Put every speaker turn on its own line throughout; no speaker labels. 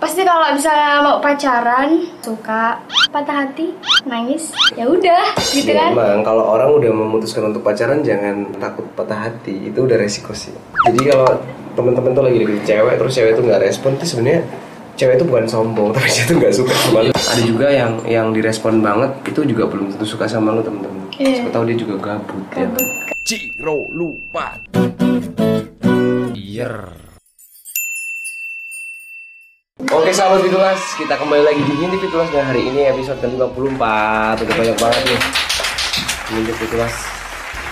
pasti kalau misalnya mau pacaran suka patah hati nangis ya udah gitu kan
Memang Iya, kalau orang udah memutuskan untuk pacaran jangan takut patah hati itu udah resiko sih. Jadi kalau temen-temen tuh lagi deketin cewek terus cewek tuh nggak respon tuh sebenarnya cewek itu bukan sombong tapi dia tuh nggak suka sama lu. Ada juga yang yang direspon banget itu juga belum tentu suka sama lu temen-temen.
Iya.
Siapa tahu dia juga gabut, ya.
Gabut.
Ciro lupa. Oke sahabat Fitulas, kita kembali lagi di Ngintip Fitulas dan hari ini episode ke-54 Udah banyak banget nih Ngintip Fitulas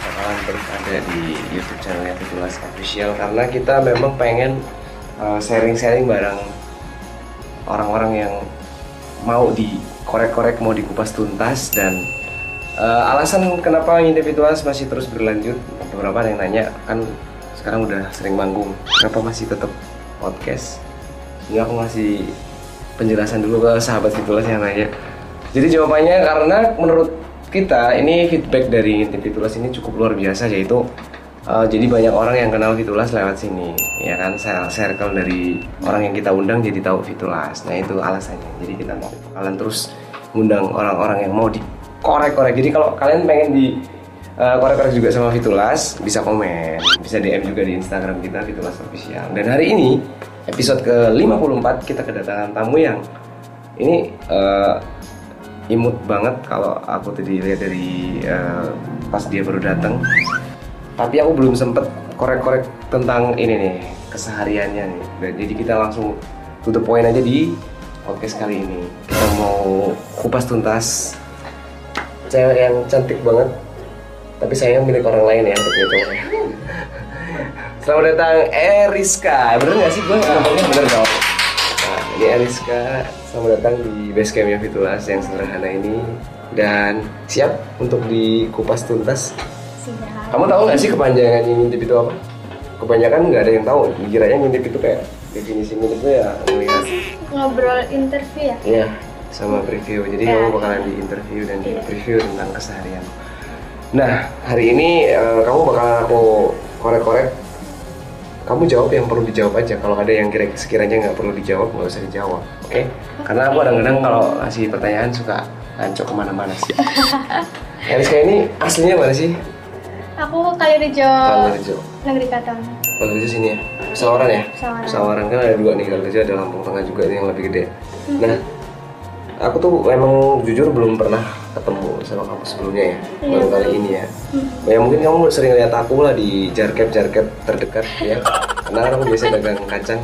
bakalan terus ada di Youtube channelnya Fitulas Official Karena kita memang pengen uh, sharing-sharing bareng orang-orang yang mau dikorek-korek, mau dikupas tuntas Dan uh, alasan kenapa Ngintip Fitulas masih terus berlanjut Beberapa ada yang nanya, kan sekarang udah sering manggung Kenapa masih tetap podcast? Ini aku ngasih penjelasan dulu ke sahabat Fitulas yang nanya. Jadi jawabannya karena menurut kita ini feedback dari tim Fitulas ini cukup luar biasa yaitu eh, jadi banyak orang yang kenal Fitulas lewat sini ya kan Saya- circle dari orang yang kita undang jadi tahu Fitulas. Nah itu alasannya. Jadi kita mau kalian terus ngundang orang-orang yang mau dikorek-korek. Jadi kalau kalian pengen di eh, korek-korek juga sama Fitulas bisa komen bisa DM juga di Instagram kita Fitulas official dan hari ini episode ke 54 kita kedatangan tamu yang ini eh, imut banget kalau aku tadi lihat dari eh, pas dia baru datang tapi aku belum sempet korek-korek tentang ini nih kesehariannya nih Dan jadi kita langsung to the point aja di podcast kali ini kita mau kupas tuntas cewek yang cantik banget tapi saya milik orang lain ya untuk itu selamat datang Eriska bener nggak sih gue namanya bener dong nah ini Eriska selamat datang di basecampnya Fitulas yang sederhana ini dan siap untuk dikupas tuntas
Sudah.
kamu tahu nggak sih kepanjangan ngintip itu apa? Kebanyakan nggak ada yang tahu. Dikiranya ngintip itu kayak definisi ngintip itu ya ngelihat.
ngobrol interview ya
Iya, sama preview. Jadi
Ya.
kamu bakalan di interview dan di preview tentang keseharian. Nah, hari ini eh, kamu bakalan aku korek-korek. Kamu jawab yang perlu dijawab aja. Kalau ada yang kira sekiranya nggak perlu dijawab, nggak usah dijawab. Oke? Karena aku kadang-kadang kalau ngasih pertanyaan suka ngancok kemana-mana sih. Eriska ini aslinya mana sih?
aku Kalirejo
Kalau Rejo.
negeri Katam
Kalau kerja sini ya? Pesawaran ya?
Pesawaran.
kan ada dua nih, kalau kerja ada Lampung Tengah juga nih yang lebih gede Nah, aku tuh emang jujur belum pernah ketemu sama kamu sebelumnya ya Baru kali ini ya Ya mungkin kamu sering lihat aku lah di jarkep-jarkep terdekat ya Karena kan aku biasa dagang kacang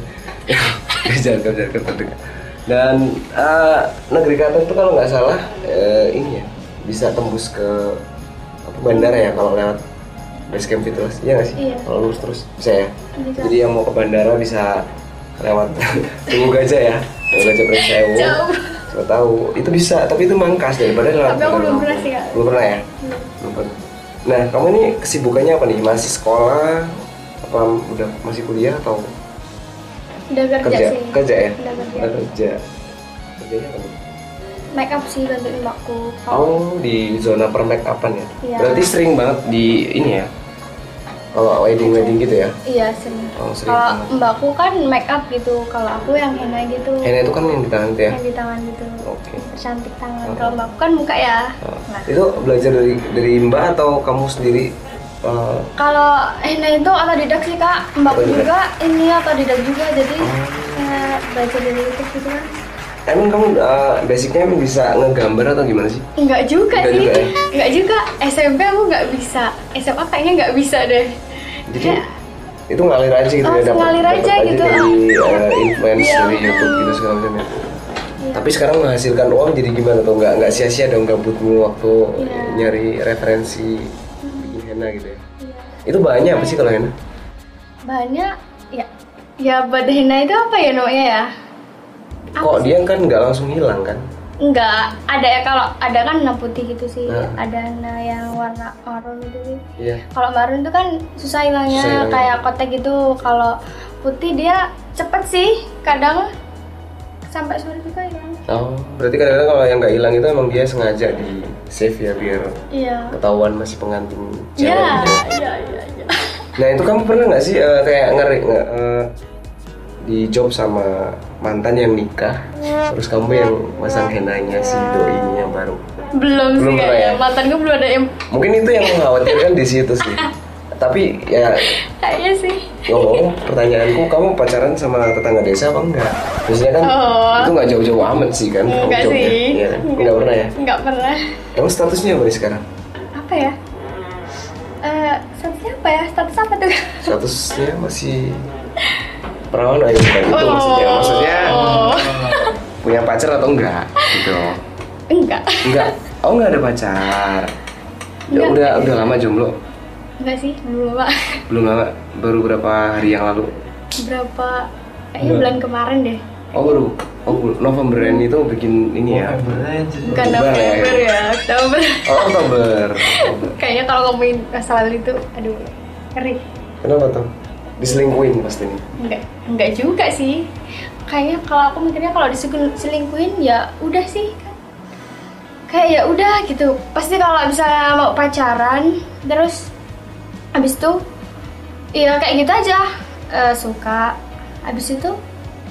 Di jarkep-jarkep terdekat Dan eh, negeri Katan tuh kalau nggak salah eh, ini ya Bisa tembus ke apa, bandara ya kalau lewat basecamp itu Iya nggak sih?
Iya.
Kalau lurus terus bisa ya?
Bisa.
Jadi yang mau ke bandara bisa lewat Tunggu Gajah ya. Tunggu Gajah Persewu.
Jauh.
Siapa tahu itu bisa, tapi itu mangkas daripada
Tapi
lewat.
aku
bandara
belum
Lampung.
pernah sih, Kak. Hmm.
Belum pernah ya?
Belum.
Belum pernah. Nah, kamu ini kesibukannya apa nih? Masih sekolah? Apa udah masih kuliah atau
udah kerja,
kerja?
sih
Kerja ya?
udah kerja
Udah kerja. Kerjanya apa? nih?
make up sih bantuin mbakku
Oh, di zona per make upan ya?
Iya.
Berarti sering banget di ini ya? Kalau wedding-wedding gitu ya?
iya sering
Oh, sering
kalau
banget.
mbakku kan make up gitu kalau aku yang henna gitu
Henna itu kan yang di tangan tuh ya?
yang di tangan gitu
Oke.
cantik tangan kalau mbakku kan muka ya nah
Itu belajar dari dari Mbak atau kamu sendiri? eh,
Kalau henna itu otodidak sih kak, mbakku
Otodidak. Oh.
juga ini otodidak juga jadi eh, belajar dari YouTube gitu kan?
emang kamu eh, basicnya emang bisa ngegambar atau gimana sih?
Enggak juga
Enggak
sih,
juga ya?
enggak juga. SMP aku enggak bisa, SMA kayaknya enggak bisa deh.
Jadi itu ngalir aja gitu
Ya. Oh,
ya dapat
ngalir
dapat
aja gitu.
dari eh, influence
Iya.
dari YouTube gitu segala macam ya. Tapi sekarang menghasilkan uang jadi gimana tuh? Nggak nggak sia-sia dong gabutmu waktu
Iya.
nyari referensi bikin henna gitu ya. Itu bahannya apa sih kalau henna?
Bahannya ya ya buat henna itu apa ya namanya ya?
Kok dia kan nggak langsung hilang kan?
Enggak, ada ya kalau ada kan henna putih gitu sih,
Nah.
ada henna yang warna oranye gitu sih.
Iya.
Kalau marun itu kan susah hilangnya
Susah hilangnya.
kayak kotek gitu. Kalau putih dia cepet sih, kadang sampai sore juga hilang.
Oh, berarti kadang-kadang kalau yang nggak hilang itu emang dia sengaja di save ya biar
Iya.
ketahuan masih pengantin cewek.
Iya,
gitu.
iya, iya, iya.
Nah itu kamu pernah nggak sih eh, kayak ngeri nge- eh, di job sama mantan yang nikah terus kamu yang masang henanya si doinya yang baru
belum,
Belum
sih
pernah
kayaknya
ya?
mantan gue belum ada yang
mungkin itu yang mengkhawatirkan di situ sih tapi ya
kayaknya sih
ngomong pertanyaanku kamu pacaran sama tetangga desa apa enggak biasanya kan
Oh.
itu nggak jauh-jauh amat sih kan kamu
enggak
jobnya.
sih
Iya kan? nggak pernah ya
enggak pernah
emang statusnya apa nih sekarang
apa ya Eh, statusnya apa ya status apa tuh
statusnya masih perawan aja bukan itu
Oh.
maksudnya maksudnya punya pacar atau enggak gitu
enggak
enggak oh enggak ada pacar Ya,
Enggak.
udah udah lama jomblo
enggak sih belum pak
belum lama baru berapa hari yang lalu
berapa kayaknya
Enggak.
bulan kemarin deh
oh baru oh bu- Novemberan itu bikin ini ya
bukan
Oktober ya,
November ya Oktober
oh Oktober
kayaknya kalau ngomongin masa lalu itu aduh ngeri
kenapa tuh diselingkuhin pasti nih
enggak enggak juga sih kayaknya kalau aku mikirnya kalau diselingkuhin ya udah sih kan kayak ya udah gitu pasti kalau misalnya mau pacaran terus habis itu ya kayak gitu aja Eh, suka habis itu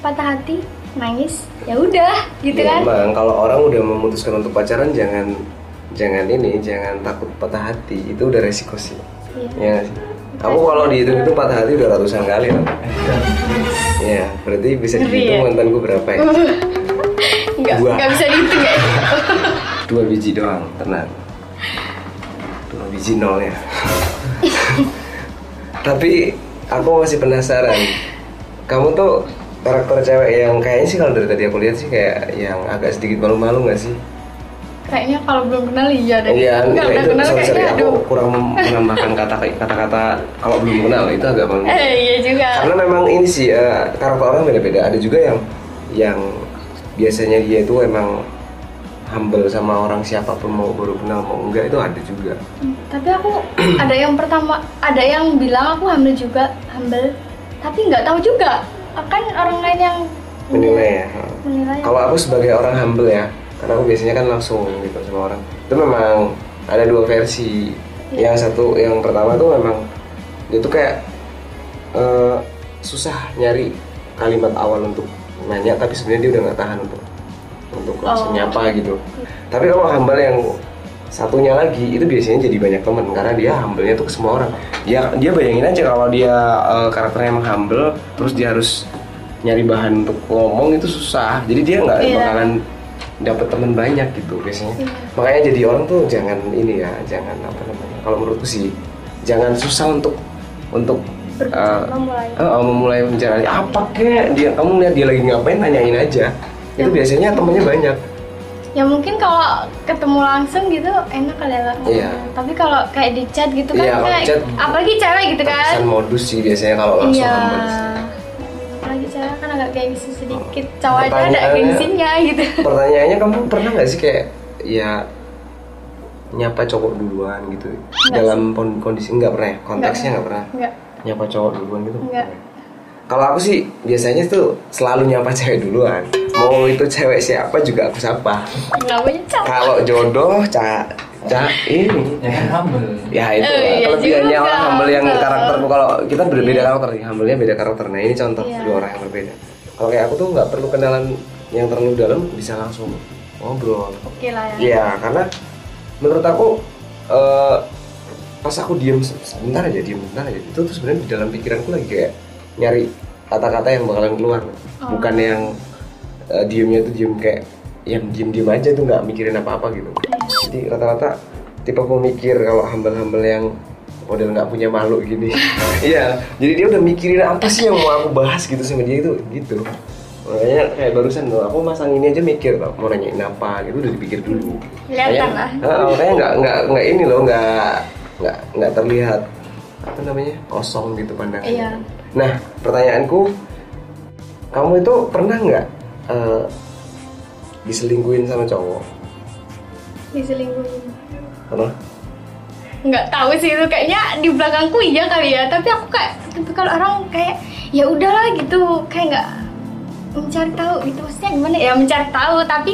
patah hati nangis ya udah gitu
Ya,
kan
Emang kalau orang udah memutuskan untuk pacaran jangan jangan ini jangan takut patah hati itu udah resiko sih.
Iya.
Ya. nggak sih? Kamu kalau dihitung itu patah hati udah ratusan kali loh. Ya, berarti bisa
Ngeri
dihitung
ya?
mantanku berapa ya?
enggak
Dua.
enggak bisa dihitung ya
Dua biji doang, tenang. Dua biji nol ya. Tapi aku masih penasaran. Kamu tuh karakter cewek yang kayaknya sih kalau dari tadi aku lihat sih kayak yang agak sedikit malu-malu nggak sih?
kayaknya kalau belum kenal iya deh
Iya, ya.
Enggak,
enggak,
udah
itu
kenal
sorry, sorry,
kayaknya
aku
aduh
kurang menambahkan kata kata-kata kalau belum kenal itu agak malu.
eh iya juga
Karena memang ini sih eh, karakter orang beda-beda. Ada juga yang yang biasanya dia itu emang humble sama orang siapapun mau baru kenal mau enggak itu ada juga.
Hmm, tapi aku ada yang pertama ada yang bilang aku hamil juga hamil tapi nggak tahu juga kan orang lain yang
Menilai ya.
menilai
Kalau aku sebagai orang humble ya, karena aku biasanya kan langsung gitu sama orang. Itu memang ada dua versi. Yang satu, yang pertama tuh memang dia tuh kayak eh, susah nyari kalimat awal untuk nanya, tapi sebenarnya dia udah nggak tahan untuk untuk
Oh.
langsung nyapa gitu. Tapi kalau humble yang satunya lagi itu biasanya jadi banyak temen karena dia humble-nya tuh ke semua orang. Dia dia bayangin aja kalau dia eh, karakternya emang humble, terus dia harus nyari bahan untuk ngomong itu susah. Jadi dia nggak
Iya.
bakalan dapat temen banyak gitu biasanya. Makanya jadi orang tuh jangan ini ya, jangan apa namanya. Kalau menurutku sih jangan susah untuk untuk eh,
berbicara mulai
Eh, mau mulai menjalani apa kek dia kamu lihat dia lagi ngapain tanyain aja itu biasanya temennya banyak
ya mungkin kalau ketemu langsung gitu enak kali ya Kak.
Iya.
tapi kalau kayak di chat gitu kan
Iya, kalau
kayak
chat-
apalagi cewek gitu kan
Kesan modus sih biasanya kalau langsung
iya
humble.
apalagi cewek kan agak gengsi sedikit
Oh,
cowok aja ada
Pertanyaannya-
gengsinya gitu
pertanyaannya kamu pernah nggak sih kayak ya nyapa cowok duluan gitu dalam pon- kondisi nggak pernah ya konteksnya nggak pernah
enggak
nyapa cowok duluan gitu
Nggak.
kalau aku sih biasanya tuh selalu nyapa cewek duluan mau itu cewek siapa juga aku sapa
namanya cowok
kalau jodoh cak cak ini
Ya kan humble.
ya itu
Oh, iya
kelebihannya
juga.
orang humble yang
Betul.
karakter kalau kita berbeda karakter nih humble-nya beda karakter nah ini contoh
Iya.
dua orang yang berbeda kalau kayak aku tuh nggak perlu kenalan yang terlalu dalam bisa langsung ngobrol
oke lah ya
Iya, karena menurut aku eh, pas aku diem se- sebentar aja, diem sebentar aja itu tuh sebenarnya di dalam pikiranku lagi kayak nyari kata-kata yang bakalan keluar,
Oh.
bukan yang eh, diemnya tuh diem kayak yang diem-diem aja tuh nggak mikirin apa-apa gitu. Jadi rata-rata tipe pemikir kalau humble-humble yang model nggak punya malu gini. Iya, jadi dia udah mikirin apa sih yang mau aku bahas gitu sama dia itu gitu. Makanya kayak barusan tuh aku masang ini aja mikir tau, mau nanyain apa gitu udah dipikir dulu.
Kelihatan
Kayak-
lah.
Heeh, Nah, makanya nggak nggak nggak ini loh nggak nggak nggak terlihat apa namanya kosong gitu pandangannya.
Iya.
Nah pertanyaanku, kamu itu pernah nggak eh, diselingkuhin sama cowok?
diselingkuhin Nah,
Pernah?
nggak tahu sih itu kayaknya di belakangku iya kali ya tapi aku kayak tapi kalau orang kayak ya udahlah gitu kayak nggak mencari tahu gitu maksudnya gimana ya mencari tahu tapi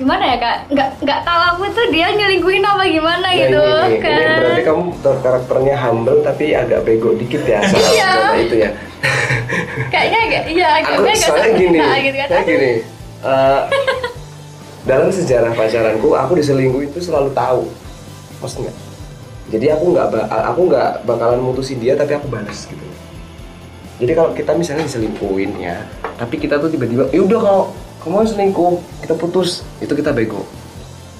gimana ya kak nggak nggak tahu aku tuh dia nyelingkuhin apa gimana
Nah,
gitu
ini, ini,
kan
ini berarti kamu ter- karakternya humble tapi agak bego dikit ya soal
Iya.
soal itu ya.
kayaknya agak iya
Aku
kayaknya agak
soalnya gini,
sempurna gitu kan
saya gini. eh, dalam sejarah pacaranku, aku diselingkuh itu selalu tahu, maksudnya. Jadi aku nggak ba- aku nggak bakalan mutusin dia, tapi aku balas gitu. Jadi kalau kita misalnya diselingkuhin ya, tapi kita tuh tiba-tiba, yaudah kalau kamu selingkuh, kita putus, itu kita bego.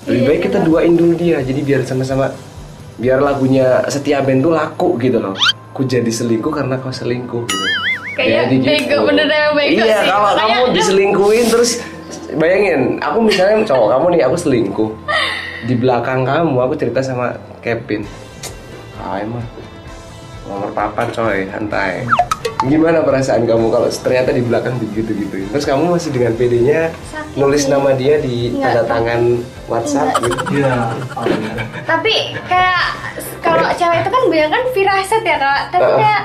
Lebih
Iya,
baik kita
benar.
duain dulu dia, jadi biar sama-sama, biar lagunya setia band tuh laku gitu loh. Ku jadi selingkuh karena kau selingkuh gitu.
Kayaknya
Jadi
bego, beneran emang bego
Iya,
sih.
kalau
Makanya
kamu
ada-
diselingkuhin terus bayangin, aku misalnya cowok kamu nih, aku selingkuh di belakang kamu, aku cerita sama Kevin. Ah emang nomor papan coy, santai. Gimana perasaan kamu kalau ternyata di belakang begitu gitu? Terus kamu masih dengan PD-nya
Sakit
nulis
sih.
nama dia di
Nggak.
tanda tangan WhatsApp gitu.
Iya.
tapi kayak kalau cewek itu kan banyak kan firasat ya kak tapi
Heeh.
kayak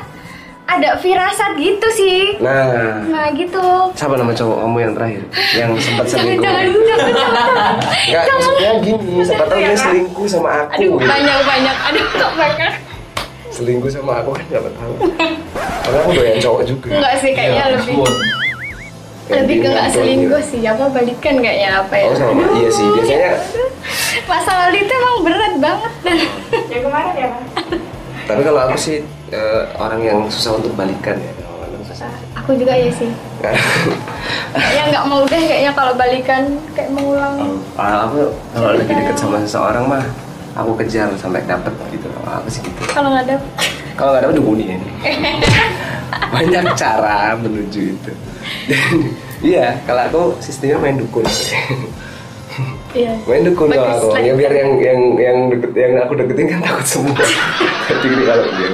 ada firasat gitu sih
Nah,
nah gitu
siapa nama cowok kamu yang terakhir yang sempat
jangan
selingkuh?
jangan jangan, jangan. Iya,
Enggak, maksudnya gini, siapa tahu dia selingkuh sama aku.
aduh
gitu.
banyak banyak aduh kok banyak
Iya. selingkuh sama aku kan nggak tahu karena aku doyan cowok juga
enggak sih kayaknya
Iya,
lebih lebih ke nggak selingkuh sih apa balikan kayaknya apa ya
oh iya. sama
Aduh,
iya sih biasanya
masa lalu itu emang berat banget
Yang kemarin ya, Bang?
tapi kalau aku sih eh, orang yang susah untuk balikan ya kalau orang susah.
aku juga ya sih kayaknya nggak mau deh kayaknya kalau balikan kayak mengulang
kalau aku kalau lagi deket sama seseorang mah aku kejar sampai dapet gitu Kalau aku sih gitu
kalau nggak ada
kalau nggak dapet dukuni ini banyak cara menuju itu iya kalau aku sistemnya main dukun
iya
main dukun dong
Bagus,
aku ya
bagus.
biar yang yang yang deket yang aku deketin kan takut semua jadi kalau dia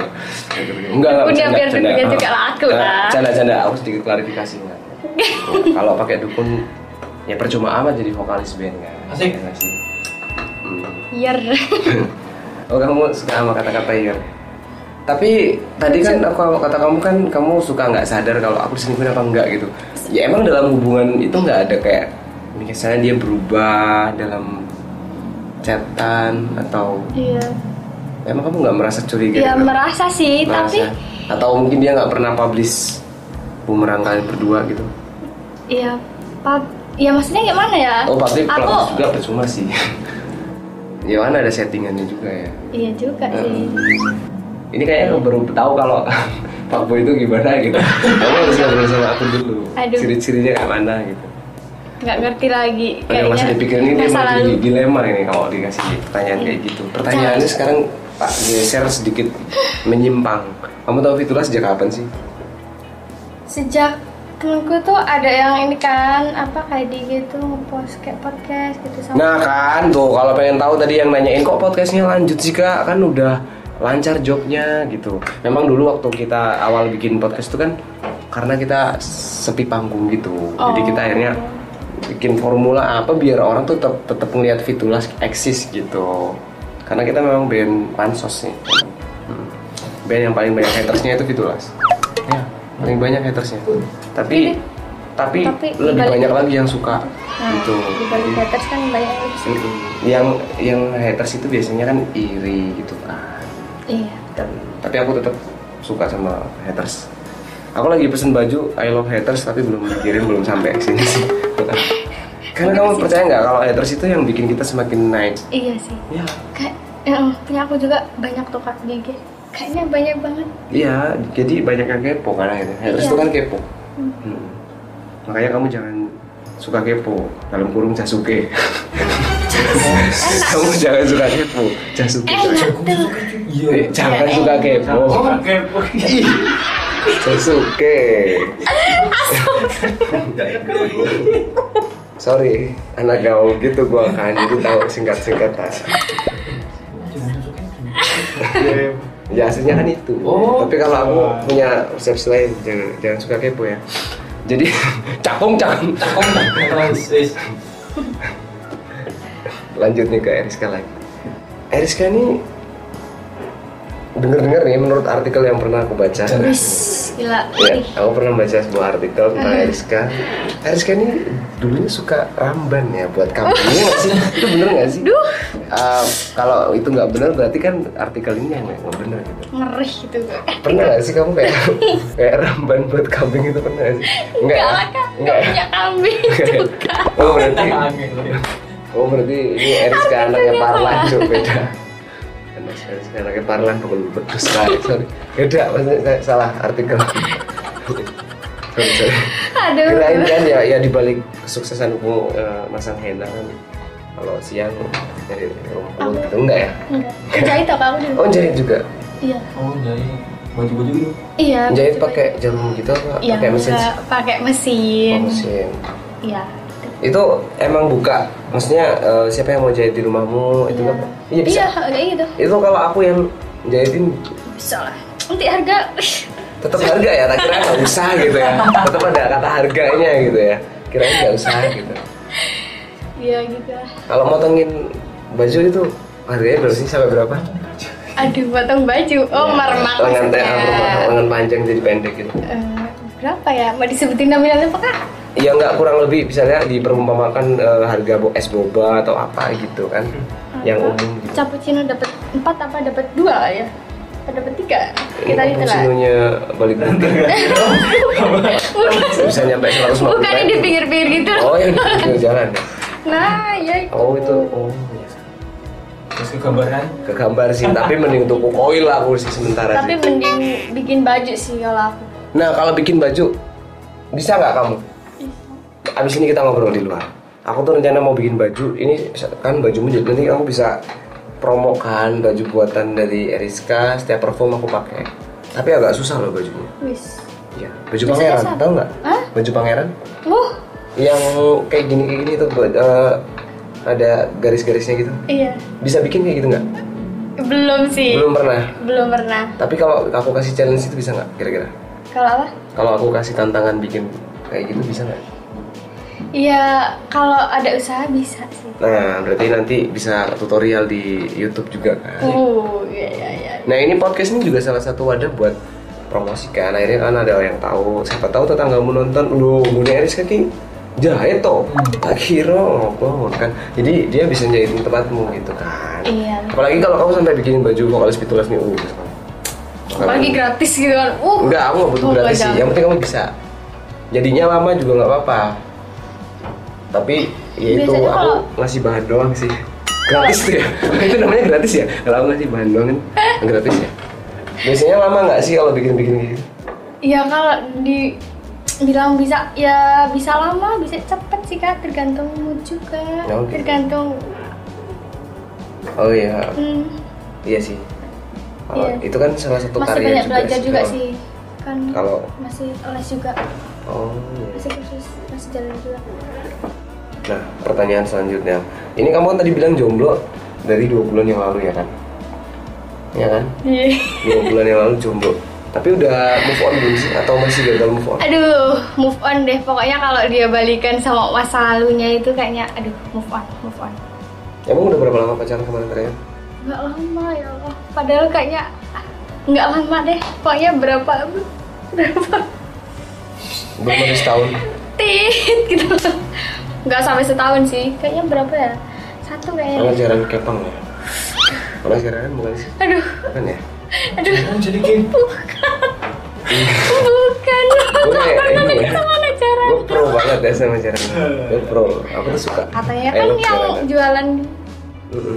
enggak enggak
Udah,
bercanda,
biar
bercanda.
dukunnya juga laku
Eh,
lah.
canda canda aku sedikit klarifikasi enggak. Ya, kalau pakai dukun ya percuma amat jadi vokalis band kan
Asik.
Ya nggak sih? Hmm.
Yer.
oh kamu suka sama kata-kata year tapi tadi kan aku kata kamu kan kamu suka nggak sadar kalau aku diselingkuhin apa enggak gitu ya emang dalam hubungan itu nggak ada kayak misalnya dia berubah dalam chatan atau
Iya.
emang kamu nggak merasa curiga
Ya
gitu?
merasa sih, tapi
Merasa? atau mungkin dia nggak pernah publish bumerang kalian berdua gitu
iya pub- ya maksudnya gimana ya?
oh pasti
aku
publish juga percuma sih ya kan ada settingannya juga ya
iya juga sih.
ini kayaknya aku baru tahu kalau Pak Boy itu gimana gitu. Kamu harus ngobrol sama aku dulu.
Aduh.
Ciri-cirinya kayak mana gitu.
Nggak ngerti lagi
Ada masa dipikirin ini
masa
emang
lalu.
jadi dilema ini kalau dikasih pertanyaan kayak gitu. Pertanyaannya sekarang Pak geser sedikit menyimpang. Kamu tahu Fitula sejak kapan sih?
Sejak temenku tuh ada yang ini kan apa kayak di gitu ngepost kayak podcast gitu sama.
Nah kan tuh kalau pengen tahu tadi yang nanyain kok podcastnya lanjut sih kak kan udah lancar jobnya gitu. Memang dulu waktu kita awal bikin podcast itu kan karena kita sepi panggung gitu. Jadi kita
Oh.
akhirnya bikin formula apa biar orang tuh tetap tetap ngelihat Fitulas eksis gitu. Karena kita memang band pansos nih. Hmm. Band yang paling banyak hatersnya itu Fitulas. Ya, paling banyak hatersnya. Tapi tapi,
Tapi
lebih
dibalik-
banyak lagi yang suka
Nah,
gitu.
di balik haters kan banyak yang bisa.
Mm-mm. yang yang haters itu biasanya kan iri gitu kan
Iya.
Dan- tapi aku tetap suka sama haters aku lagi pesen baju I love haters tapi belum dikirim belum sampai ke sini sih karena kamu percaya nggak kalau haters itu yang bikin kita semakin naik
Iya sih.
ya
Kayak yang punya aku juga banyak tuh kak di IG. Kayaknya banyak banget.
iya jadi banyak yang kepo kan akhirnya haters
Iya.
itu kan kepo Hmm. makanya kamu jangan suka kepo dalam kurung Jasuke kamu jangan suka kepo Jasuke
Enak tuh.
Iya.
jangan suka kepo
Oke.
Sasuke. Sorry, anak gaul gitu gua kan jadi tahu singkat-singkatan. Ya aslinya kan itu.
Oh.
Tapi kalau aku punya persepsi lain, jangan jangan suka kepo ya. Jadi cakung cakung.
Om, Francis.
Lanjut nih ke Eriska lagi. Eriska ini dengar-dengar nih menurut artikel yang pernah aku baca.
Wis, gila
Ya,
Ih,
aku pernah baca sebuah artikel tentang
Mhm.
Eriska. Eriska ini dulunya suka ramban ya buat kamu. Iya nggak sih? Itu bener nggak sih?
Duh.
Eh, kalau itu nggak bener berarti kan artikel ini yang nggak bener gitu.
ngeri gitu gue
Pernah nggak sih kamu kayak kayak ramban buat kambing itu pernah nggak sih?
Enggak
ya?
lah kak,
Nggak
nggak
ya?
punya kambing juga
Oh berarti,
angin.
oh berarti ini Eriska anaknya
punya
Parlan
salah.
cok beda. Anak- Eriska anaknya Parlan bukan berdua sorry. sorry. Beda maksudnya saya salah artikel. sorry, sorry.
Aduh
kirain kan ya ya di balik kesuksesan aku eh, masang henna kan kalau siang dari rumput gitu enggak ya
Enggak, jahit apa aku dulu
oh jahit juga
Iya
Oh jadi baju-baju gitu.
Iya
jahit
betul.
pakai jarum gitu apa
Iya,
pakai mesin
enggak, pakai mesin
Oh, mesin
Iya
itu emang buka maksudnya eh, siapa yang mau jahit di rumahmu itu
Iya.
apa iya
Iya,
bisa
kayak gitu
itu kalau aku yang jahitin
Bisa lah Nanti harga
tetap harga ya tak kira nggak usah gitu ya tetap ada kata harganya gitu ya kirain nggak usah gitu
Iya gitu lah
kalau motongin baju itu harganya berapa sih sampai berapa
Aduh, potong baju Oh,
Iya.
marmak
lengan
maksudnya
teh apa, lengan panjang jadi pendek gitu
Eh, Berapa ya? Mau disebutin nominalnya apa kak?
ya nggak kurang lebih misalnya diperumpamakan eh, harga bo- es boba atau apa gitu kan yang
Apa?
umum gitu.
Cappuccino dapat 4 apa dapat 2 ya? Apa dapat 3? Kita
Ini
itu lah.
cappuccino-nya balik nanti
Bukan.
bisa nyampe 150
Bukan yang di
ribu.
pinggir-pinggir gitu.
oh yang di pinggir jalan ya?
Nah, ya itu.
oh itu oh ya.
Terus kegambaran.
kegambar sih tapi mending tuku koil lah aku sih sementara
Tapi
sih
mending bikin baju sih kalau aku.
nah kalau bikin baju bisa nggak kamu abis ini kita ngobrol di luar aku tuh rencana mau bikin baju ini kan bajumu jadi nanti aku bisa promokan baju buatan dari Eriska setiap perform aku pakai tapi agak susah loh bajunya
Wis.
Iya, baju
Biasanya
pangeran,
siapa?
tau nggak?
Hah?
Baju pangeran
Wuh,
yang kayak gini kayak gini tuh buat, eh, ada garis-garisnya gitu.
iya.
Bisa bikin kayak gitu nggak?
Belum sih.
Belum pernah.
Belum pernah.
Tapi kalau aku kasih challenge itu bisa nggak? Kira-kira?
Kalau apa?
Kalau aku kasih tantangan bikin kayak gitu bisa nggak?
Iya, kalau ada usaha bisa sih.
Nah, berarti nanti bisa tutorial di YouTube juga kan?
Uh, iya iya iya.
Nah ini podcast ini juga salah satu wadah buat promosikan. Akhirnya kan ada yang tahu. Siapa tahu tetanggamu nonton, lu Bunda Eris kaki jahit toh.
Hmm.
Tak kira ngobrol kan. Jadi dia bisa jahitin tempatmu gitu kan.
Iya.
Apalagi kalau kamu sampai bikin baju vokalis pitulas nih. Uh,
Apalagi gratis gitu kan. Uh.
Enggak, aku nggak butuh
Oh,
gratis sih.
padahal.
Yang penting kamu bisa. Jadinya lama juga nggak apa-apa. Tapi ya itu
Biasanya
aku
kalau-
ngasih bahan doang sih. Gratis tuh ya. itu namanya gratis ya. Kalau aku ngasih bahan doang kan gratis ya. Biasanya lama nggak sih kalau bikin-bikin gitu?
Ya kalau di bilang bisa ya bisa lama bisa cepet sih kak tergantung mood juga
Ya, oke.
tergantung
Oh iya,
hmm,
iya sih. Kalau
Iya.
itu kan salah satu
masih
karya
banyak
juga
belajar juga
kalau-
sih kan
Kalau
masih les juga
oh iya.
masih kursus masih jalan juga
Nah, pertanyaan selanjutnya. Ini kamu kan tadi bilang jomblo dari dua bulan yang lalu ya kan? Ya kan?
Iya.
dua bulan yang lalu jomblo tapi udah move on belum sih atau masih gagal move on
aduh move on deh pokoknya kalau dia balikan sama masa lalunya itu kayaknya aduh move on move on
emang udah berapa lama pacaran kemarin terakhir
nggak lama ya Allah padahal kayaknya ah, nggak lama deh pokoknya berapa berapa
belum ada setahun
tit gitu nggak sampai setahun sih kayaknya berapa ya satu
pernah
kayaknya
jarang kepang ya pernah jarang bukan sih
aduh
kan ya
aduh
Oh, jadi gini.
bukan
Gue ini ya.
sama cara
gue pro banget ya sama jarang gue pro aku tuh suka
katanya
I
kan
love
yang
jaranan.
jualan
Mm-mm.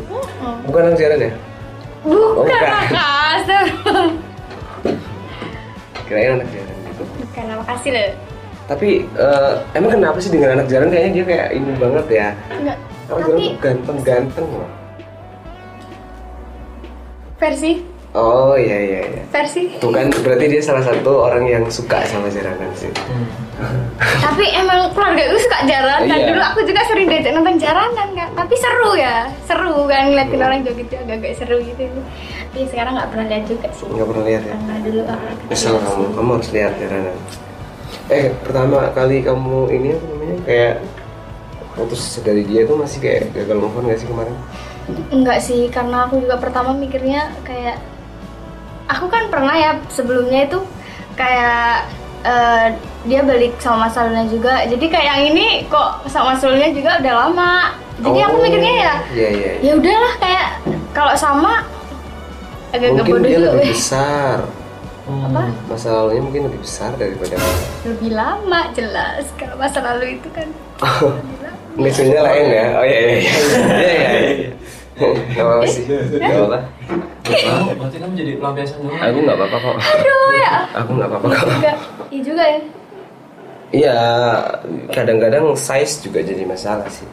bukan yang jarang ya
bukan
Bukan.
makasih
kirain anak jarang gitu
bukan makasih loh
tapi eh, emang kenapa sih dengan anak jarang kayaknya dia kayak ini banget ya
enggak
orang jarang
tapi
tuh ganteng-ganteng loh
versi
oh iya iya iya
versi
Tuh kan berarti dia salah satu orang yang suka sama jaranan sih.
tapi emang keluarga gue suka jaranan
Iya.
dulu aku juga sering diajak nonton jaranan kan tapi seru ya seru kan ngeliatin orang joget tuh agak-agak seru gitu tapi sekarang nggak pernah lihat juga sih
Nggak pernah lihat ya.
Karena dulu aku kecil
Nyesel
sih.
kamu, kamu harus lihat jaranan. Eh pertama kali kamu ini apa namanya kayak putus dari dia tuh masih kayak gagal move on gak sih kemarin?
Enggak sih, karena aku juga pertama mikirnya kayak aku kan pernah ya sebelumnya itu kayak eh, dia balik sama Mas Aluna juga jadi kayak yang ini kok sama Mas Aluna juga udah lama jadi aku
Oh,
mikirnya ya
Iya iya.
ya udahlah kayak kalau sama agak-agak
Mungkin
bodoh
dia
juga
lebih
weh.
besar.
apa
Masa lalunya mungkin lebih besar daripada
lebih lama jelas kalau masa lalu itu kan
Oh.
lebih lama.
Misalnya lain ya. Oh iya iya iya. Iya iya. iya. Gak apa-apa sih. Gak apa-apa.
Kamu berarti kamu jadi pelampiasan doang.
Aku nggak apa-apa kok.
aduh ya
Aku nggak apa-apa kok.
juga iya juga ya
Iya, kadang-kadang size juga jadi masalah sih.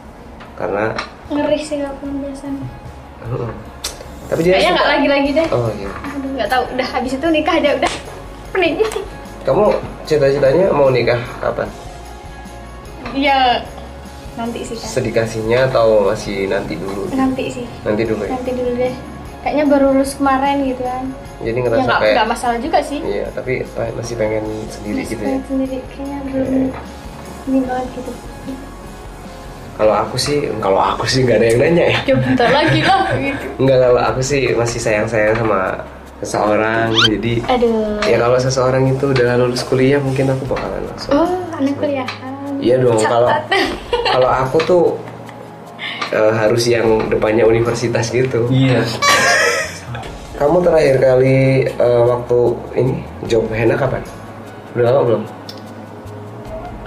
Karena
ngeri sih kalau pembiasan
Mm-mm. tapi dia
kayaknya nggak
suka-
lagi-lagi deh
Oh iya.
Aduh, nggak tahu udah habis itu nikah aja udah pening
Kamu cita-citanya mau nikah kapan?
ya nanti sih kan
Sedikasinya atau masih nanti dulu?
nanti Iya. sih
Nanti dulu ya.
nanti dulu deh kayaknya baru lulus kemarin gitu kan
Jadi
ya
ngerasa
nggak
kayak
nggak masalah juga sih
Iya, tapi pa- masih pengen sendiri
Masih
gitu ya.
pengen sendiri kayaknya belum ini banget gitu
Kalau aku sih, kalau aku sih nggak ada yang nanya ya.
ya bentar lagi lah gitu
Enggak, kalau aku sih masih sayang-sayang sama seseorang. Jadi
aduh
ya kalau seseorang itu udah lulus kuliah mungkin aku bakalan langsung.
oh anak kuliah
Iya dong, kalau
Catat.
kalau aku tuh eh, harus yang depannya universitas gitu.
Iya.
Kamu terakhir kali eh, waktu ini job henna kapan? Udah lama belum?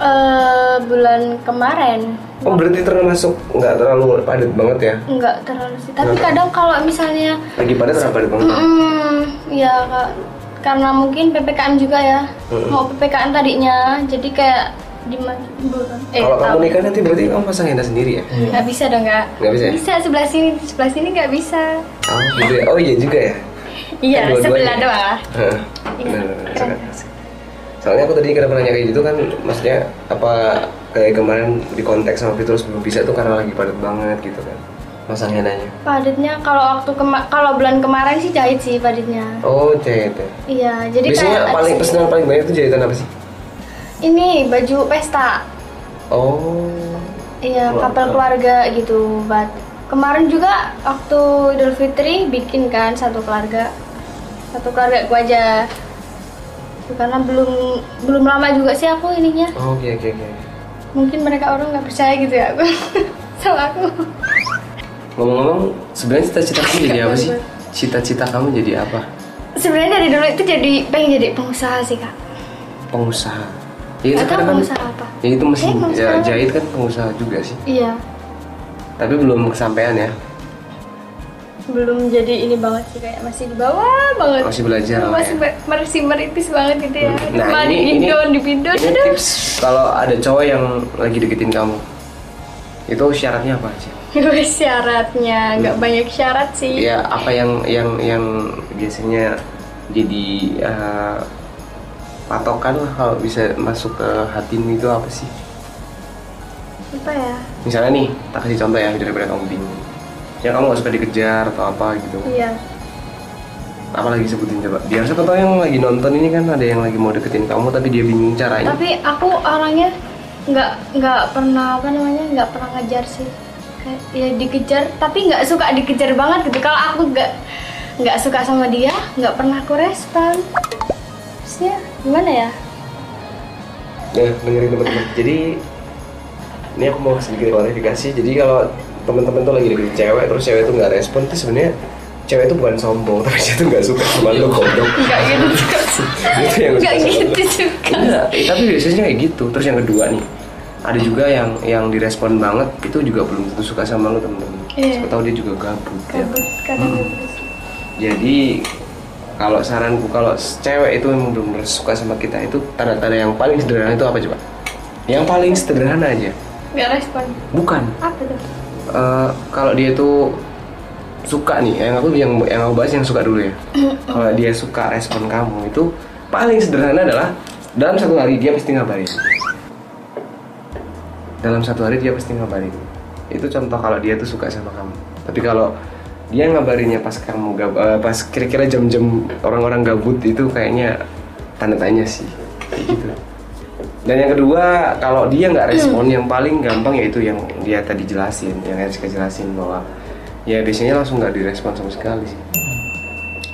Eh, bulan kemarin
Oh berarti termasuk nggak terlalu padat banget ya?
nggak terlalu sih tapi
Kenapa?
kadang kalau misalnya
Lagi padat terlalu padat banget.
Mm-mm, ya Kak. karena mungkin ppkm juga ya
Mm-mm.
mau ppkm tadinya jadi kayak di ma- eh,
Kalau kamu
tahu.
nikah nanti berarti kamu pasang henna sendiri ya?
Iya.
nggak bisa dong kak
Nggak bisa ya?
bisa sebelah sini sebelah sini nggak bisa
Oh gitu ya? Oh iya juga ya?
iya
dua-duanya. ya?
sebelah doang
Hah,
Iya,
benar, benar, benar. Soalnya aku tadi kenapa nanya kayak gitu kan maksudnya apa kayak kemarin di kontak sama Fitrus belum bisa tuh karena lagi padat banget gitu kan pasang henanya.
padatnya kalau waktu kema- kalau bulan kemarin sih jahit sih padatnya
Oh jahit ya.
iya jadi
Biasanya
kayak
paling pesanan paling banyak itu jahitan apa sih?
ini baju pesta
Oh.
Iya,
Keluarga.
kapal keluarga gitu, Bat. Kemarin juga waktu Idul Fitri bikin kan satu keluarga. Satu keluarga gua aja. Itu Karena belum belum lama juga sih aku ininya.
Oh oke oke oke.
Mungkin mereka orang nggak percaya gitu ya aku. Sama aku.
Ngomong-ngomong, sebenarnya cita-cita kamu
Iya,
jadi apa sih? Cita-cita kamu jadi apa?
Sebenarnya dari dulu itu jadi pengen jadi pengusaha sih, Kak.
Pengusaha. Ya itu
Nggak tahu
kadang kan
pengusaha apa.
Ya itu mesin
Eh,
ya,
pengusaha.
jahit kan pengusaha juga sih.
Iya,
Tapi belum kesampaian ya.
belum jadi ini banget sih kayak masih di bawah banget.
Masih belajar lah
Masih
ya.
ber- masih merintis banget gitu ya.
Hmm.
Nah, di Indon, di Indon,
ini
aduh.
tips kalau ada cowok yang lagi deketin kamu itu syaratnya apa aja?
syaratnya nggak banyak syarat sih
Ya apa yang yang yang biasanya jadi eh, patokan lah kalau bisa masuk ke hatimu itu apa sih?
apa ya
Misalnya nih, tak kasih contoh ya daripada kamu bingung. Ya kamu gak suka dikejar atau apa gitu.
iya
Apalagi sebutin coba. Biar contoh yang lagi nonton ini kan ada yang lagi mau deketin kamu tapi dia bingung caranya.
tapi aku orangnya nggak nggak pernah apa namanya nggak pernah ngejar sih Kayak, ya dikejar tapi nggak suka dikejar banget gitu kalau aku nggak nggak suka sama dia nggak pernah aku respon terusnya gimana ya
Ya, dengerin teman-teman. Jadi ini aku mau sedikit klarifikasi. Jadi kalau teman-teman tuh lagi deketin cewek terus cewek tuh nggak respon itu sebenarnya cewek itu bukan sombong tapi dia tuh nggak suka sama lu goblok.
nggak gitu juga
Itu yang
nggak
suka sama lu.
gitu juga
Enggak, eh, tapi biasanya kayak gitu. Terus yang kedua nih, ada juga yang yang direspon banget itu juga belum tentu suka sama lo temen-temen.
Iya.
Siapa tahu dia juga gabut. ya.
kabut kadang kabut.
Jadi kalau saranku kalau cewek itu memang belum suka sama kita itu tanda-tanda yang paling sederhana itu apa coba? Yang paling sederhana aja,
nggak respon
bukan
apa tuh
Eh, kalau dia tuh suka nih yang aku yang yang aku bahas yang suka dulu ya kalau dia suka respon kamu itu paling sederhana adalah dalam satu hari dia pasti ngabarin dalam satu hari dia pasti ngabarin itu contoh kalau dia tuh suka sama kamu tapi kalau dia ngabarinnya pas kamu gab, eh, pas kira-kira jam-jam orang-orang gabut itu kayaknya tanda tanya sih kayak gitu dan yang kedua kalau dia nggak respon yang paling gampang yaitu yang dia tadi jelasin yang harus jelasin bahwa ya biasanya langsung nggak direspon sama sekali sih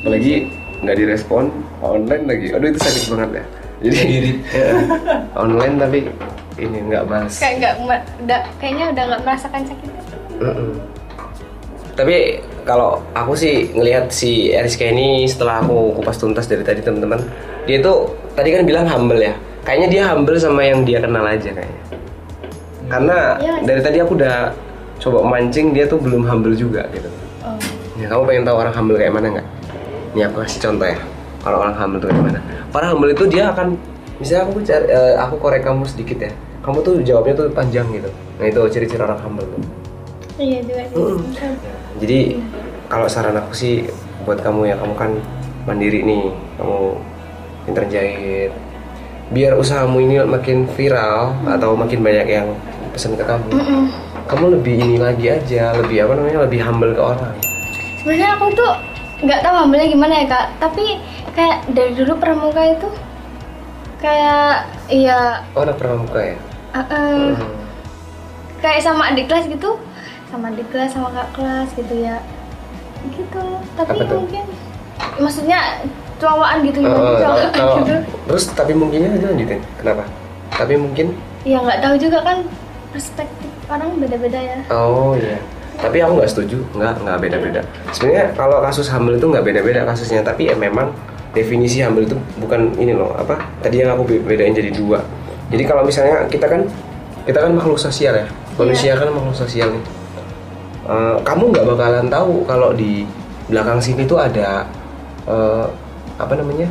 apalagi nggak direspon online lagi aduh itu sakit banget ya jadi ya, online tapi ini nggak bahas
kayak nggak mer- udah kayaknya udah nggak merasakan sakit
Mm-mm. tapi kalau aku sih ngelihat si Eriska ini setelah aku kupas tuntas dari tadi teman-teman dia tuh tadi kan bilang humble ya kayaknya dia humble sama yang dia kenal aja kayaknya karena
Iya nggak sih?
dari tadi aku udah coba mancing dia tuh belum humble juga gitu
oh.
Ya, kamu pengen tahu orang humble kayak mana nggak? Ini aku kasih contoh ya. Kalau orang humble tuh kayak mana? Para humble itu dia akan, misalnya aku cari, eh, aku korek kamu sedikit ya. Kamu tuh jawabnya tuh panjang gitu. Nah itu ciri-ciri orang humble. tuh.
iya juga sih
Mm. Jadi kalau saran aku sih buat kamu ya kamu kan mandiri nih, kamu pinter jahit. Biar usahamu ini makin viral atau makin banyak yang pesan ke kamu. Kamu lebih ini lagi aja, lebih apa namanya, lebih humble ke orang.
sebenarnya aku tuh nggak tahu hamilnya gimana ya kak tapi kayak dari dulu pramuka itu kayak iya
Oh, anak pramuka ya?
eh, eh, kayak sama adik kelas gitu sama adik kelas sama kak kelas gitu ya gitu tapi
Apa tuh?
mungkin maksudnya cowaan gitu
Oh,
ya
oh,
cowaan
oh.
gitu
Terus tapi mungkinnya aja lanjutin. Kenapa? Tapi mungkin.
ya nggak tahu juga kan perspektif orang beda-beda ya
Oh iya. Tapi aku nggak setuju. Nggak nggak beda-beda. Sebenarnya kalau kasus humble itu nggak beda-beda kasusnya. Tapi ya memang definisi humble itu bukan ini loh apa? Tadi yang aku be- bedain jadi dua. Jadi kalau misalnya kita kan kita kan makhluk sosial ya. Manusia kan makhluk sosial nih. Eh, kamu nggak bakalan tahu kalau di belakang sini tuh ada eh, apa namanya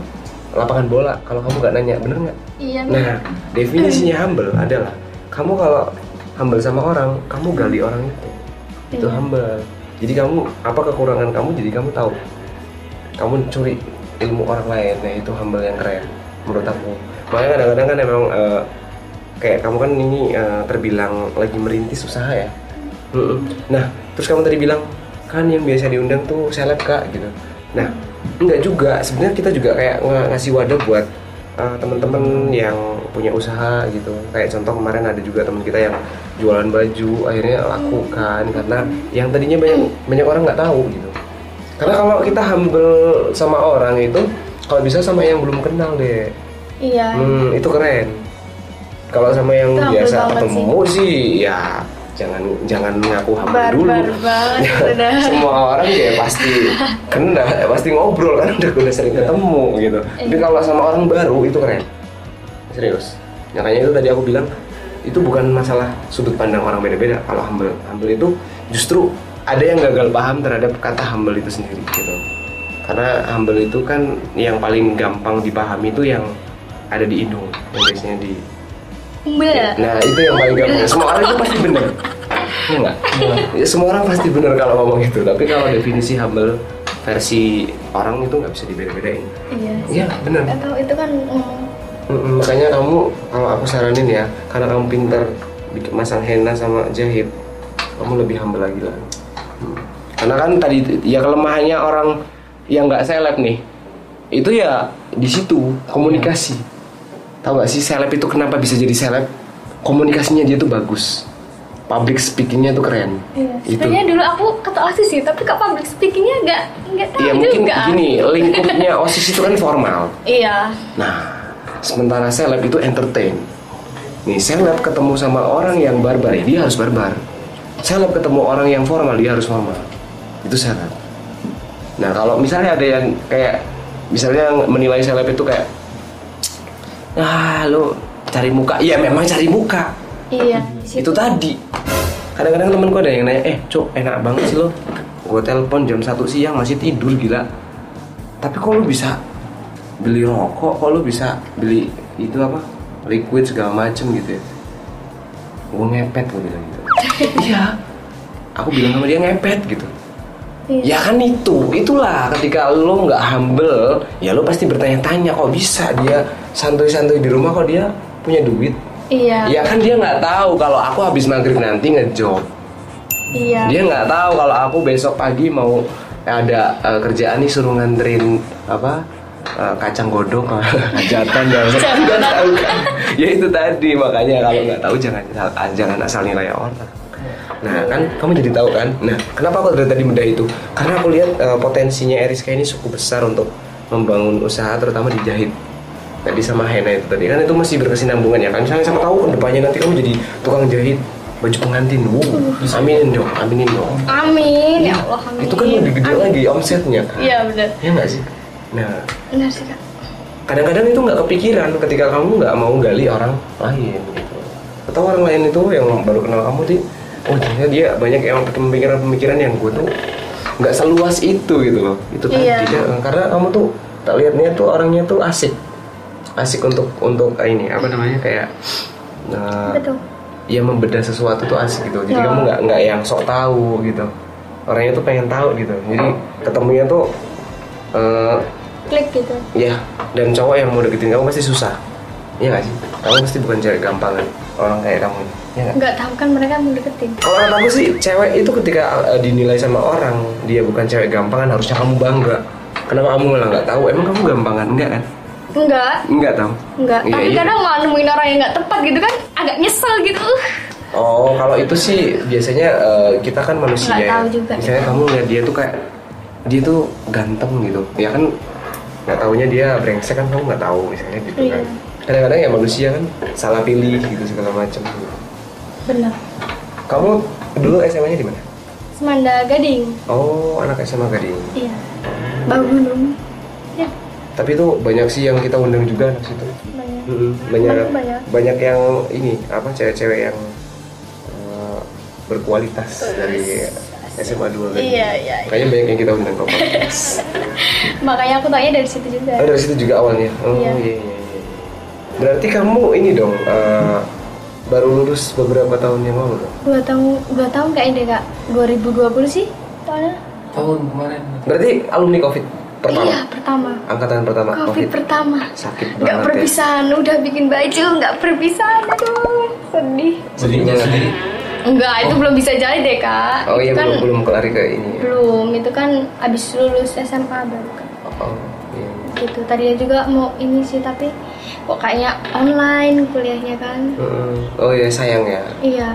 lapangan bola kalau kamu nggak nanya bener nggak
iya
Nah, definisinya humble adalah kamu kalau humble sama orang, kamu gali orang itu. Itu
Iya.
humble. Jadi kamu apa kekurangan kamu jadi kamu tahu. Kamu curi ilmu orang lain, nah itu humble yang keren menurut aku. Makanya kadang-kadang kan emang eh, kayak kamu kan ini eh, terbilang lagi merintis usaha ya. Mm-mm. Nah, terus kamu tadi bilang kan yang biasa diundang tuh seleb kak gitu. Nah, enggak juga. Sebenarnya kita juga kayak ng- ngasih wadah buat uh, teman-teman yang punya usaha gitu. Kayak contoh kemarin ada juga teman kita yang jualan baju akhirnya laku kan karena yang tadinya banyak banyak orang nggak tahu gitu. Karena kalau kita humble sama orang itu kalau bisa sama yang belum kenal deh.
iya
Hmm, itu keren. Kalau sama yang
Itu humble
biasa
banget
ketemu sih. ya jangan jangan ngaku humble dulu.
barbar banget
Ya,
itu dah
semua orang ya pasti kena, pasti ngobrol kan udah udah sering ketemu gitu. Tapi kalau sama orang baru itu keren. Serius. Makanya itu tadi aku bilang itu bukan masalah sudut pandang orang beda-beda. Kalau humble, humble itu justru ada yang gagal paham terhadap kata humble itu sendiri gitu. Karena humble itu kan yang paling gampang dipahami itu yang ada di hidung, yang biasanya di
humble ya
Nah itu yang paling gampang. Semua orang itu pasti benar. Iya nggak? Ya, semua orang pasti benar kalau ngomong itu. Tapi kalau definisi humble versi orang itu nggak bisa dibeda-bedain.
iya sih.
Iya benar.
atau itu kan mm,
Mm-mm, makanya kamu kalau aku saranin ya, karena kamu pintar bikin masang henna sama jahit, kamu lebih humble lagi lah. Hmm. Karena kan tadi ya kelemahannya orang yang nggak seleb nih, itu ya di situ komunikasi. Tahu nggak sih seleb itu kenapa bisa jadi seleb? Komunikasinya dia tuh bagus, public speakingnya tuh keren.
Iya.
Itu.
Sebenarnya dulu aku ketua osis sih, tapi kak public speakingnya nggak nggak tahu
Ya mungkin
juga.
gini lingkupnya osis itu kan formal.
Iya.
Nah, sementara seleb itu entertain. Nih, seleb ketemu sama orang yang barbar, ya dia harus barbar. Seleb ketemu orang yang formal, dia harus formal. Itu seleb. Nah, kalau misalnya ada yang kayak misalnya yang menilai seleb itu kayak ah lu cari muka. Iya, memang cari muka.
Iya.
Itu tadi. Kadang-kadang temanku ada yang nanya, "Eh, Cok, enak banget sih lo. Gue telepon jam 1 siang masih tidur gila." Tapi kok lu bisa beli rokok, kok lu bisa beli itu apa? Liquid segala macem gitu ya. Gue ngepet gue bilang gitu. iya. Aku bilang sama dia ngepet gitu.
Iya.
Ya kan itu, itulah ketika lo nggak humble, ya lo pasti bertanya-tanya kok bisa dia santuy-santuy di rumah kok dia punya duit.
Iya.
Ya kan dia nggak tahu kalau aku habis maghrib nanti ngejob.
Iya.
Dia nggak tahu kalau aku besok pagi mau ada eh, kerjaan nih suruh nganterin apa eh, kacang godok hajatan dan nggak tahu kan. Ya itu tadi makanya kalau nggak tahu jangan jangan asal nilai orang. Nah kan kamu jadi tahu kan. Nah kenapa aku dari tadi benda itu? Karena aku lihat eh, potensinya Eriska ini cukup besar untuk membangun usaha terutama di jahit tadi sama Hena itu tadi kan itu masih berkesinambungan ya kan misalnya sama tahu kedepannya nanti kamu jadi tukang jahit baju pengantin wow aminin dong aminin dong
Amin ya Allah amin.
itu kan lebih gede
Amin.
lagi omsetnya kan
Iya benar.
ya nggak sih nah
Benar sih kak.
kadang-kadang itu nggak kepikiran ketika kamu nggak mau gali orang lain gitu atau orang lain itu yang baru kenal kamu sih oh ternyata dia banyak yang pemikiran-pemikiran yang gue tuh nggak seluas itu gitu loh itu tadi
Iya.
dia- karena kamu tuh tak lihatnya tuh orangnya tuh asik asik untuk untuk eh, ini apa namanya kayak nah,
Betul.
ya membedah sesuatu tuh asik gitu
Ya.
jadi kamu nggak nggak yang sok tahu gitu orangnya tuh pengen tahu gitu jadi
Oh.
ketemunya tuh eh,
Klik gitu.
Ya, dan cowok yang mau deketin kamu pasti susah. Iya gak sih? Kamu pasti bukan cewek gampangan orang kayak kamu. ini. Iya nggak?
Nggak tahu kan mereka mau deketin.
Kalau kata aku sih, cewek itu ketika eh, dinilai sama orang, dia bukan cewek gampangan, harusnya kamu bangga. Kenapa kamu malah nggak tahu? Emang kamu gampangan? Enggak kan?
Enggak.
Enggak tahu.
Enggak.
Iya,
Tapi kan
iya.
kadang malah nemuin orang yang nggak tepat gitu kan, agak nyesel gitu. Uh,
Oh, kalau itu sih biasanya eh, kita kan manusia.
Nggak
ya.
tahu juga.
Misalnya kamu lihat dia tuh kayak dia tuh ganteng gitu, ya kan? Nggak taunya dia brengsek kan kamu nggak tahu misalnya gitu
Iya.
kan. Kadang-kadang ya manusia kan salah pilih gitu segala macam.
Benar.
Kamu dulu SMA-nya di mana?
Semanda Gading.
Oh, anak SMA Gading.
Iya. Bangunung. Ya.
Tapi itu banyak sih yang kita undang juga anak situ.
Banyak.
Mm-mm, Banyak,
Banyak.
banyak yang ini apa cewek-cewek yang eh, berkualitas dari SMA 2 Gading.
Iya, iya, iya.
Kayaknya banyak yang kita undang kok.
Makanya aku tanya dari situ juga.
Oh, dari situ juga awalnya. Oh,
Iya.
iya. iya, iya, iya. Berarti kamu ini dong eh, baru lulus beberapa tahun yang lalu dong.
Dua tahun, dua tahun kayaknya deh kak. 2020 sih tahunnya.
Tahun kemarin.
Berarti alumni Covid pertama.
Iya pertama.
Angkatan pertama
Covid, pertama.
Sakit banget.
Nggak
ya.
perpisahan, udah bikin baju, nggak perpisahan, aduh sedih.
Belinya sendiri.
Enggak, itu belum bisa jadi deh kak.
Oh iya
itu kan
belum belum kelari ke ini. ya.
belum, itu kan abis lulus SMK baru Kak.
Oh, iya.
gitu. Tadinya juga mau ini sih tapi kok kayaknya online kuliahnya kan.
Heeh. Oh iya sayang ya.
Iya,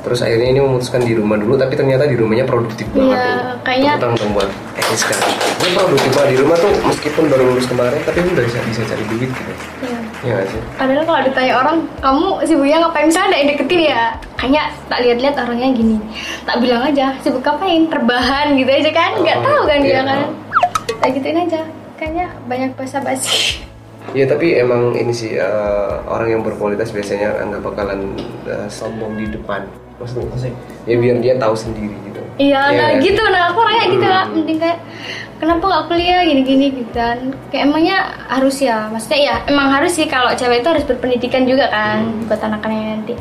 Terus akhirnya ini memutuskan di rumah dulu, tapi ternyata di rumahnya produktif banget.
Iya,
nih.
kayaknya-
Tepuk tangan dong buat Enis kan. Dia produktif banget di rumah tuh, meskipun baru lulus kemarin, tapi udah bisa bisa cari duit gitu.
iya.
Iya nggak sih?
Padahal kalau ditanya orang, kamu sibuknya ngapain? Misalnya ada yang deketin ya, kayaknya tak lihat-lihat orangnya gini. Tak bilang aja, sibuk ngapain? Terbahan gitu aja kan? Nggak
Oh,
tahu kan dia
iya.
kan? Tak gituin aja. Kayaknya banyak basa-basi.
Iya tapi emang ini sih eh, orang yang berkualitas biasanya nggak bakalan eh, sombong di depan. Maksudnya?
Asik.
Ya biar dia tahu sendiri gitu.
Iya, nah
nggak
gitu. Nah, aku orangnya gitu lah.
Hmm.
Mending kayak, kenapa nggak kuliah gini-gini gitu kan? Kayak emangnya harus ya? Maksudnya ya, emang harus sih kalau cewek itu harus berpendidikan juga kan
Hmm.
buat anak-anaknya nanti.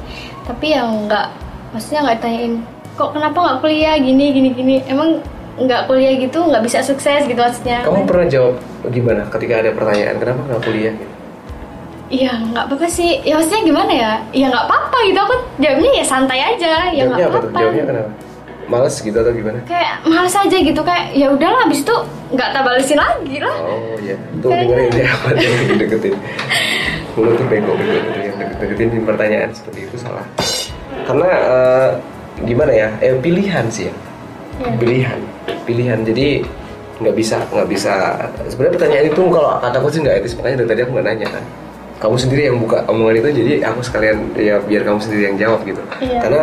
Tapi yang nggak, maksudnya nggak ditanyain, kok kenapa nggak kuliah gini-gini-gini? Emang nggak kuliah gitu nggak bisa sukses gitu maksudnya?
Kamu pernah jawab gimana ketika ada pertanyaan kenapa nggak kuliah? gitu?
Iya, nggak apa-apa sih. Ya maksudnya gimana ya? Ya nggak apa-apa gitu. Aku jawabnya ya santai aja. Ya nggak
Jawabnya apa tuh?
apa-apa.
Jawabnya kenapa? Males gitu atau gimana?
Kayak males aja gitu kayak ya udahlah habis itu nggak tabalisin lagi lah.
Oh iya, tuh
Kayaknya.
dengerin dia apa dia lagi deketin. Mulut tuh bego-bego gitu yang deket- deketin di pertanyaan seperti itu salah. Karena eh, gimana ya? Eh pilihan sih ya.
Iya.
Pilihan, pilihan. Jadi nggak bisa nggak bisa. Sebenarnya pertanyaan itu kalau kataku sih nggak etis makanya dari tadi aku nggak nanya kan. Kamu sendiri yang buka omongan itu jadi aku sekalian ya biar kamu sendiri yang jawab gitu.
Iya.
Karena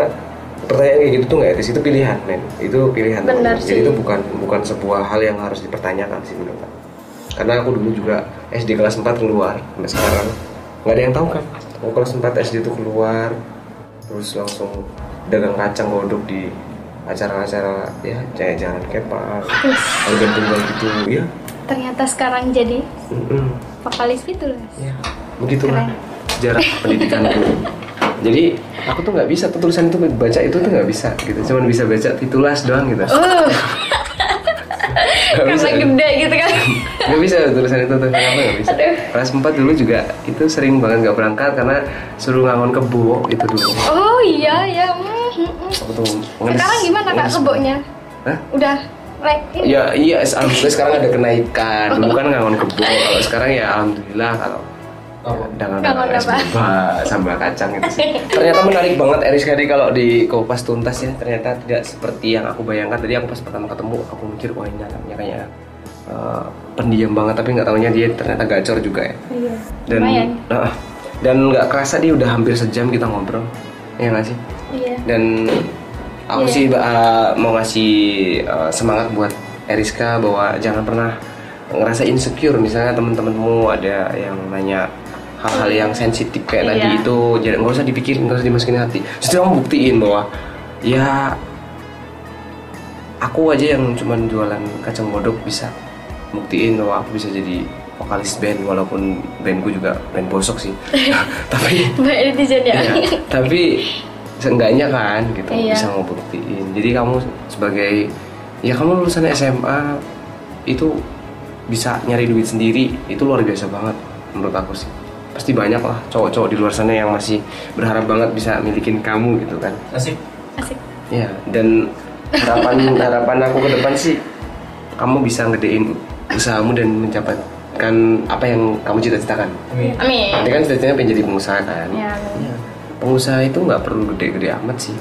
pertanyaan kayak gitu tuh nggak etis itu pilihan men itu pilihan
Benar
teman-teman.
sih.
jadi itu bukan bukan sebuah hal yang harus dipertanyakan sih menurut aku karena aku dulu juga SD kelas 4 keluar sampai sekarang nggak ada yang tahu kan aku kelas 4 SD itu keluar terus langsung dagang kacang godok di acara-acara ya kayak jalan kepak organ tunggal gitu ya
ternyata sekarang jadi
mm-mm.
vokalis gitu loh.
ya begitulah
Keren.
sejarah pendidikanku jadi aku tuh nggak bisa tuh tulisan itu baca itu tuh nggak bisa gitu cuman bisa baca titulas doang gitu
Uh, karena
Nggak bisa. ya?
gede gitu kan.
Gak bisa tulisan itu tuh kenapa gak bisa?
Aduh.
Kelas 4 dulu juga itu sering banget gak berangkat karena suruh ngangon kebo itu dulu.
Oh iya ya. mm, mm, mm.
Aku tuh ngenes-
Sekarang gimana kak
ngenes.
keboknya?
Hah?
Udah like ini.
Ya iya alhamdulillah sekarang ada kenaikan. Dulu kan ngangon kebo. Kalau sekarang ya alhamdulillah kalau
Apa?
dengan
Ngangon
es
apa?
boba sambal kacang itu sih. Ternyata menarik banget Eris tadi kalau di kupas tuntas ya ternyata tidak seperti yang aku bayangkan. Tadi aku pas pertama ketemu aku mikir wah ini anaknya kayak eh, pendiam banget tapi nggak tahunya dia ternyata gacor juga ya
Iya.
dan
Lumayan.
Ah, dan nggak kerasa dia udah hampir sejam kita ngobrol ya nggak sih
Iya.
dan aku
Iya.
sih uh, mau ngasih uh, semangat buat Eriska bahwa jangan pernah ngerasa insecure misalnya teman-temanmu ada yang nanya hal-hal yang sensitif kayak
Iya.
tadi itu jangan nggak usah dipikirin nggak usah dimasukin hati justru kamu buktiin bahwa ya aku aja yang cuman jualan kacang bodok bisa buktiin bahwa aku bisa jadi vokalis band walaupun bandku juga band bosok sih tapi
Banyak netizen ya.
Iya, tapi seenggaknya kan gitu
Iya.
bisa ngebuktiin jadi kamu sebagai ya kamu lulusan SMA itu bisa nyari duit sendiri itu luar biasa banget menurut aku sih pasti banyak lah cowok-cowok di luar sana yang masih berharap banget bisa milikin kamu gitu kan
Asik.
Asik.
ya dan harapan harapan aku ke depan sih kamu bisa ngedein usahamu dan mendapatkan apa yang kamu cita-citakan
Amin.
Iya. Amin.
nanti kan cita-citanya pengen jadi pengusaha kan
Ya.
Ya, pengusaha itu nggak perlu gede-gede amat sih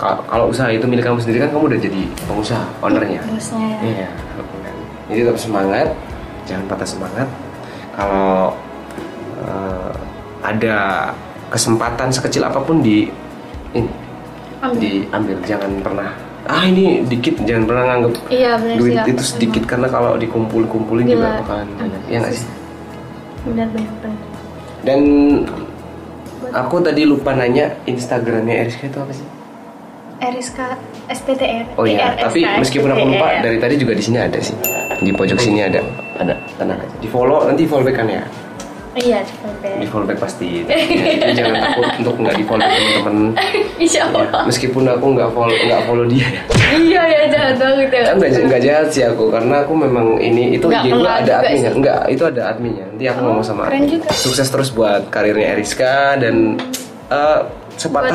Ka- kalau usaha itu milik kamu sendiri kan kamu udah jadi pengusaha ownernya
Bagusnya ya.
iya kan. jadi tetap semangat jangan patah semangat kalau eh, ada kesempatan sekecil apapun di in-
Ambil.
diambil jangan pernah ah ini dikit jangan pernah nganggep
Iya benar sih.
duit
Kak.
itu sedikit karena kalau dikumpul-kumpulin
Gila. Iya,
juga bakalan banyak ya nggak sih
Benar benar benar.
dan aku tadi lupa nanya Instagramnya Eriska itu apa sih?
Eriska SPTR.
Oh iya,
IRSK,
tapi meskipun aku lupa
SPTR.
dari tadi juga di sini ada sih. Di pojok sini ada. Ada, tenang aja. Di follow nanti follow back kan ya.
Iya cepet deh.
Di follow back pasti. Jadi jangan takut untuk nggak di follow back teman-teman.
Insya
Ya,
Allah.
meskipun aku nggak follow nggak follow dia ya.
Iya ya jahat banget ya.
Enggak enggak jahat sih aku karena aku memang ini itu
Nggak
IG gua
kenal
ada
juga
adminnya.
sih.
Enggak, itu ada adminnya. Nanti aku
Oh,
ngomong sama
keren
admin.
juga.
Sukses terus buat karirnya Eriska dan eh, sepatah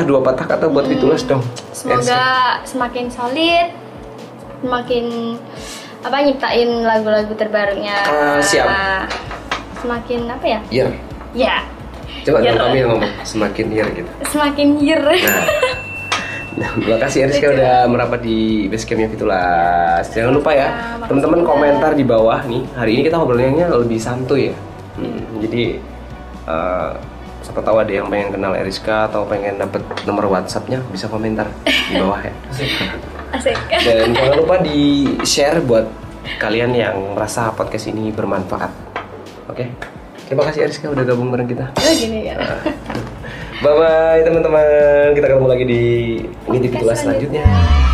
Buat- Hmm.
dua patah kata buat Fitulas dong.
Semoga
Eriska.
semakin solid, semakin apa nyiptain lagu-lagu terbarunya.
Ah, siap.
Semakin apa ya?
Year.
Ya,
Iya. Coba
Year.
dong kami yang ngomong semakin year gitu.
semakin year.
Nah, Nah, terima kasih Eriska udah merapat di basecampnya Fitulas. Jangan lupa ya,
Sama-sama.
teman-teman komentar di bawah nih. Hari ini kita ngobrolnya lebih santuy ya. Hmm, jadi eh, siapa tahu ada yang pengen kenal Eriska atau pengen dapet nomor WhatsApp-nya bisa komentar di bawah ya.
Asik.
Dan jangan lupa di share buat kalian yang merasa podcast ini bermanfaat. Oke. Terima kasih Eriska udah gabung bareng kita.
Oh, gini ya.
Bye bye teman-teman. Kita ketemu lagi di Ngintip Fitulas selanjutnya.